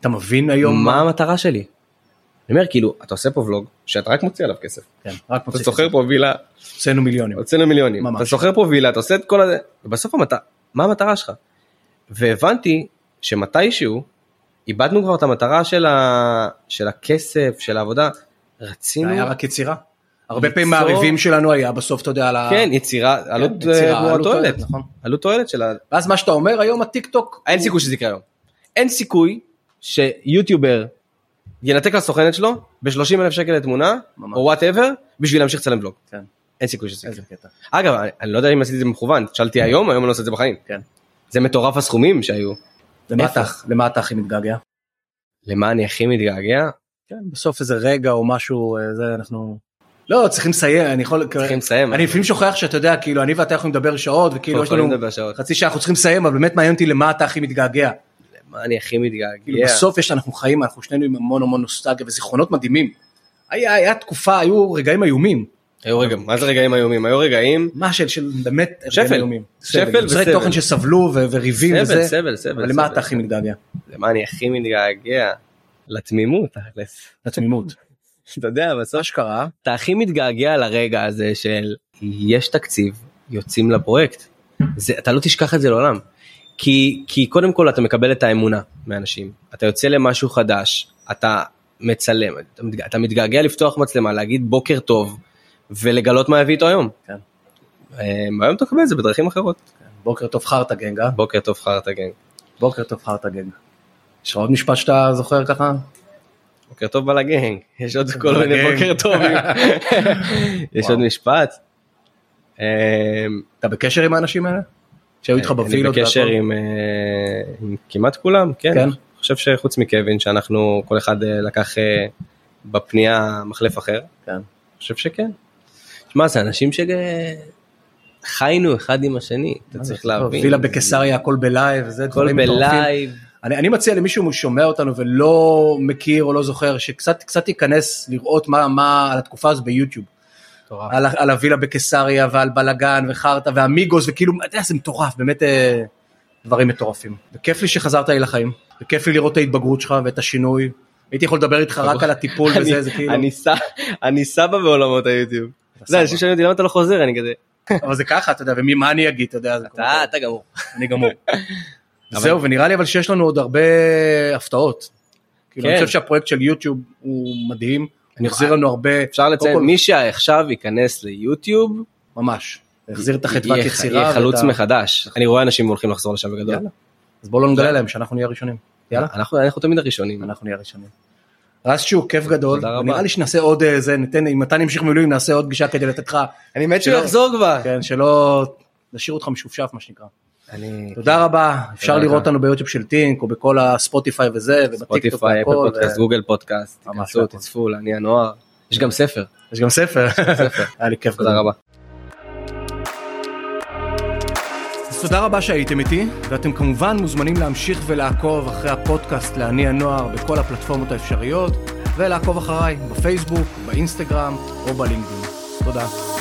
[SPEAKER 1] אתה מבין היום
[SPEAKER 2] מה המטרה שלי. אני אומר כאילו אתה עושה פה ולוג שאתה רק מוציא עליו כסף.
[SPEAKER 1] כן, רק
[SPEAKER 2] אתה
[SPEAKER 1] מוציא
[SPEAKER 2] שוכר
[SPEAKER 1] כסף.
[SPEAKER 2] פה וילה,
[SPEAKER 1] הוצאנו מיליונים.
[SPEAKER 2] הוצאנו מיליונים,
[SPEAKER 1] ממש.
[SPEAKER 2] אתה שוכר פה וילה, אתה עושה את כל הזה, ובסוף המטרה, מה המטרה שלך? והבנתי שמתישהו איבדנו כבר את המטרה של, ה... של הכסף, של העבודה,
[SPEAKER 1] זה
[SPEAKER 2] רצינו,
[SPEAKER 1] היה רק יצירה. הרבה פעמים
[SPEAKER 2] ליצור-
[SPEAKER 1] מעריבים שלנו היה בסוף, אתה יודע, על ה...
[SPEAKER 2] כן יצירה, עלות
[SPEAKER 1] יצירה,
[SPEAKER 2] אה,
[SPEAKER 1] עלות
[SPEAKER 2] תועלת,
[SPEAKER 1] תועלת, נכון.
[SPEAKER 2] עלות תועלת של ה...
[SPEAKER 1] ואז מה שאתה אומר, היום הטיק טוק...
[SPEAKER 2] אין סיכוי שזה יקרה היום. אין סיכוי שיוטיובר ינתק לסוכנת שלו ב-30 אלף שקל לתמונה,
[SPEAKER 1] ממש.
[SPEAKER 2] או וואטאבר, בשביל להמשיך לצלם ולוג.
[SPEAKER 1] כן.
[SPEAKER 2] אין סיכוי שזה יקרה.
[SPEAKER 1] איזה קטע.
[SPEAKER 2] אגב, אני- אני לא יודע אם עשיתי את זה במכוון, שאלתי היום, היום אני לא עושה את זה בחיים.
[SPEAKER 1] כן.
[SPEAKER 2] זה מטורף הסכומים שהיו.
[SPEAKER 1] למה
[SPEAKER 2] איפה?
[SPEAKER 1] אתה- למה אתה הכי מתגעגע?
[SPEAKER 2] למה אני הכי מתגעגע?
[SPEAKER 1] כן, בסוף איזה רגע או משהו, אה, זה אנחנו... לא, צריכים לסיים, אני יכול...
[SPEAKER 2] צריכים לסיים.
[SPEAKER 1] אני לפעמים שוכח שאתה יודע, כאילו, אני ואתה יכולים לדבר שעות, וכאילו, יש לנו
[SPEAKER 2] יכולים לדבר שעות.
[SPEAKER 1] חצי שעה, אנחנו צריכים לסיים, אבל באמת מעניין אותי למה אתה הכי מתגעגע.
[SPEAKER 2] למה אני הכי
[SPEAKER 1] כאילו,
[SPEAKER 2] מתגעגע?
[SPEAKER 1] בסוף יש, אנחנו חיים, אנחנו שנינו עם המון המון נוסטגיה וזיכרונות מדהימים. היה, היה תקופה, היו רגעים איומים.
[SPEAKER 2] היו רגעים, מה זה רגעים איומים? היו רגעים,
[SPEAKER 1] מה של, של באמת
[SPEAKER 2] שפל.
[SPEAKER 1] רגעים איומים.
[SPEAKER 2] שפל
[SPEAKER 1] יוצרי
[SPEAKER 2] וסבל.
[SPEAKER 1] תוכן שסבלו ו- וריבים
[SPEAKER 2] סבל,
[SPEAKER 1] וזה.
[SPEAKER 2] סבל, סבל.
[SPEAKER 1] אבל למה
[SPEAKER 2] סבל.
[SPEAKER 1] אתה הכי מתגעגע?
[SPEAKER 2] למה אני הכי מתגעגע? לתמימות, תכלס.
[SPEAKER 1] לתמימות.
[SPEAKER 2] אתה יודע, בסוף
[SPEAKER 1] אשכרה.
[SPEAKER 2] אתה הכי מתגעגע לרגע הזה של יש תקציב, יוצאים לפרויקט. זה, אתה לא תשכח את זה לעולם. כי, כי קודם כל אתה מקבל את האמונה מאנשים, אתה יוצא למשהו חדש, אתה מצלם, אתה, מתג- אתה מתגעגע לפתוח מצלמה, להגיד בוקר טוב ולגלות מה הביא איתו היום.
[SPEAKER 1] כן.
[SPEAKER 2] אה, היום אתה מקבל את זה בדרכים אחרות.
[SPEAKER 1] בוקר טוב חרטה גנג, אה?
[SPEAKER 2] בוקר טוב חרטה גנג,
[SPEAKER 1] בוקר טוב חרטה גנג. יש לך עוד משפט שאתה זוכר ככה?
[SPEAKER 2] בוקר טוב בלגנג, יש עוד כל מיני
[SPEAKER 1] בלגנג.
[SPEAKER 2] בוקר טובים. יש עוד
[SPEAKER 1] וואו.
[SPEAKER 2] משפט. אה,
[SPEAKER 1] אתה בקשר עם האנשים האלה? שהיו איתך בווילות?
[SPEAKER 2] אני בקשר
[SPEAKER 1] והכל?
[SPEAKER 2] עם, אה, עם כמעט כולם, כן.
[SPEAKER 1] כן?
[SPEAKER 2] אני חושב שחוץ מקווין, שאנחנו, כל אחד אה, לקח אה, בפנייה מחלף אחר.
[SPEAKER 1] כן.
[SPEAKER 2] אני חושב שכן. שמע, זה אנשים שחיינו אחד עם השני, אתה צריך להבין.
[SPEAKER 1] אה, וילה בקיסריה, הכל בלייב, זה
[SPEAKER 2] הכל
[SPEAKER 1] דברים מטורפים.
[SPEAKER 2] בלייב.
[SPEAKER 1] אני, אני מציע למישהו שומע אותנו ולא מכיר או לא זוכר, שקצת קצת ייכנס לראות מה, מה על התקופה הזו ביוטיוב. על, ה- על הווילה בקיסריה ועל בלאגן וחרטא והמיגוס וכאילו, אתה יודע, זה מטורף, באמת אה, דברים מטורפים. וכיף לי שחזרת לי לחיים, וכיף לי לראות את ההתבגרות שלך ואת השינוי. הייתי יכול לדבר איתך רק על הטיפול וזה,
[SPEAKER 2] אני-
[SPEAKER 1] זה כאילו,
[SPEAKER 2] אני סבא- אני סבא בעולמות היוטיוב.
[SPEAKER 1] אתה
[SPEAKER 2] זה
[SPEAKER 1] סבא.
[SPEAKER 2] אנשים שואלים אותי למה אתה לא חוזר, אני כזה,
[SPEAKER 1] אבל זה ככה, אתה יודע, ומה אני אגיד, אתה יודע, זה כמו-
[SPEAKER 2] אתה אתה גמור.
[SPEAKER 1] אני גמור. זהו, ונראה לי אבל שיש לנו עוד הרבה הפתעות. כאילו, אני
[SPEAKER 2] כן.
[SPEAKER 1] חושב שהפרויקט של יוטיוב הוא מדהים, הוא החזיר לנו הרבה,
[SPEAKER 2] אפשר לציין,
[SPEAKER 1] כל-
[SPEAKER 2] מי שעכשיו ייכנס ליוטיוב,
[SPEAKER 1] ממש, החזיר את החדוות
[SPEAKER 2] יהיה
[SPEAKER 1] יצירה.
[SPEAKER 2] יהיה
[SPEAKER 1] ואת
[SPEAKER 2] חלוץ
[SPEAKER 1] ה-
[SPEAKER 2] מחדש. אני רואה אנשים הולכים לחזור לשם בגדול.
[SPEAKER 1] יאללה. אז בואו לא נגלה להם שאנחנו נהיה ראשונים. יאללה.
[SPEAKER 2] אנחנו, אנחנו תמיד הראשונים.
[SPEAKER 1] Mm. אנחנו נהיה ראשונים. רז שהוא כיף גדול,
[SPEAKER 2] תודה רבה.
[SPEAKER 1] ונראה לי שנעשה עוד אה, זה, ניתן, אם אתה נמשיך מילואים נעשה עוד פגישה כדי לתת לך,
[SPEAKER 2] אני מת
[SPEAKER 1] שהוא
[SPEAKER 2] יחזור כבר.
[SPEAKER 1] כן, שלא, נשאיר אותך משופשף מה שנקרא.
[SPEAKER 2] אני...
[SPEAKER 1] תודה רבה, אפשר
[SPEAKER 2] לך.
[SPEAKER 1] לראות אותנו ביוטיוב של טינק, או בכל הספוטיפיי וזה, ובטיקטוק
[SPEAKER 2] ספוטיפיי, אפל
[SPEAKER 1] והכל,
[SPEAKER 2] פודקאסט, גוגל פודקאסט,
[SPEAKER 1] ממש
[SPEAKER 2] תיכנסו,
[SPEAKER 1] והכל.
[SPEAKER 2] תצפו, לעני הנוער. יש גם ספר,
[SPEAKER 1] ויש גם ספר, היה לי כיף גדול.
[SPEAKER 2] תודה רבה.
[SPEAKER 1] אז תודה רבה שהייתם איתי, ואתם כמובן מוזמנים להמשיך ולעקוב אחרי הפודקאסט לעני הנוער בכל הפלטפורמות האפשריות, ולעקוב אחריי בפייסבוק, באינסטגרם או בלינקדאין. תודה.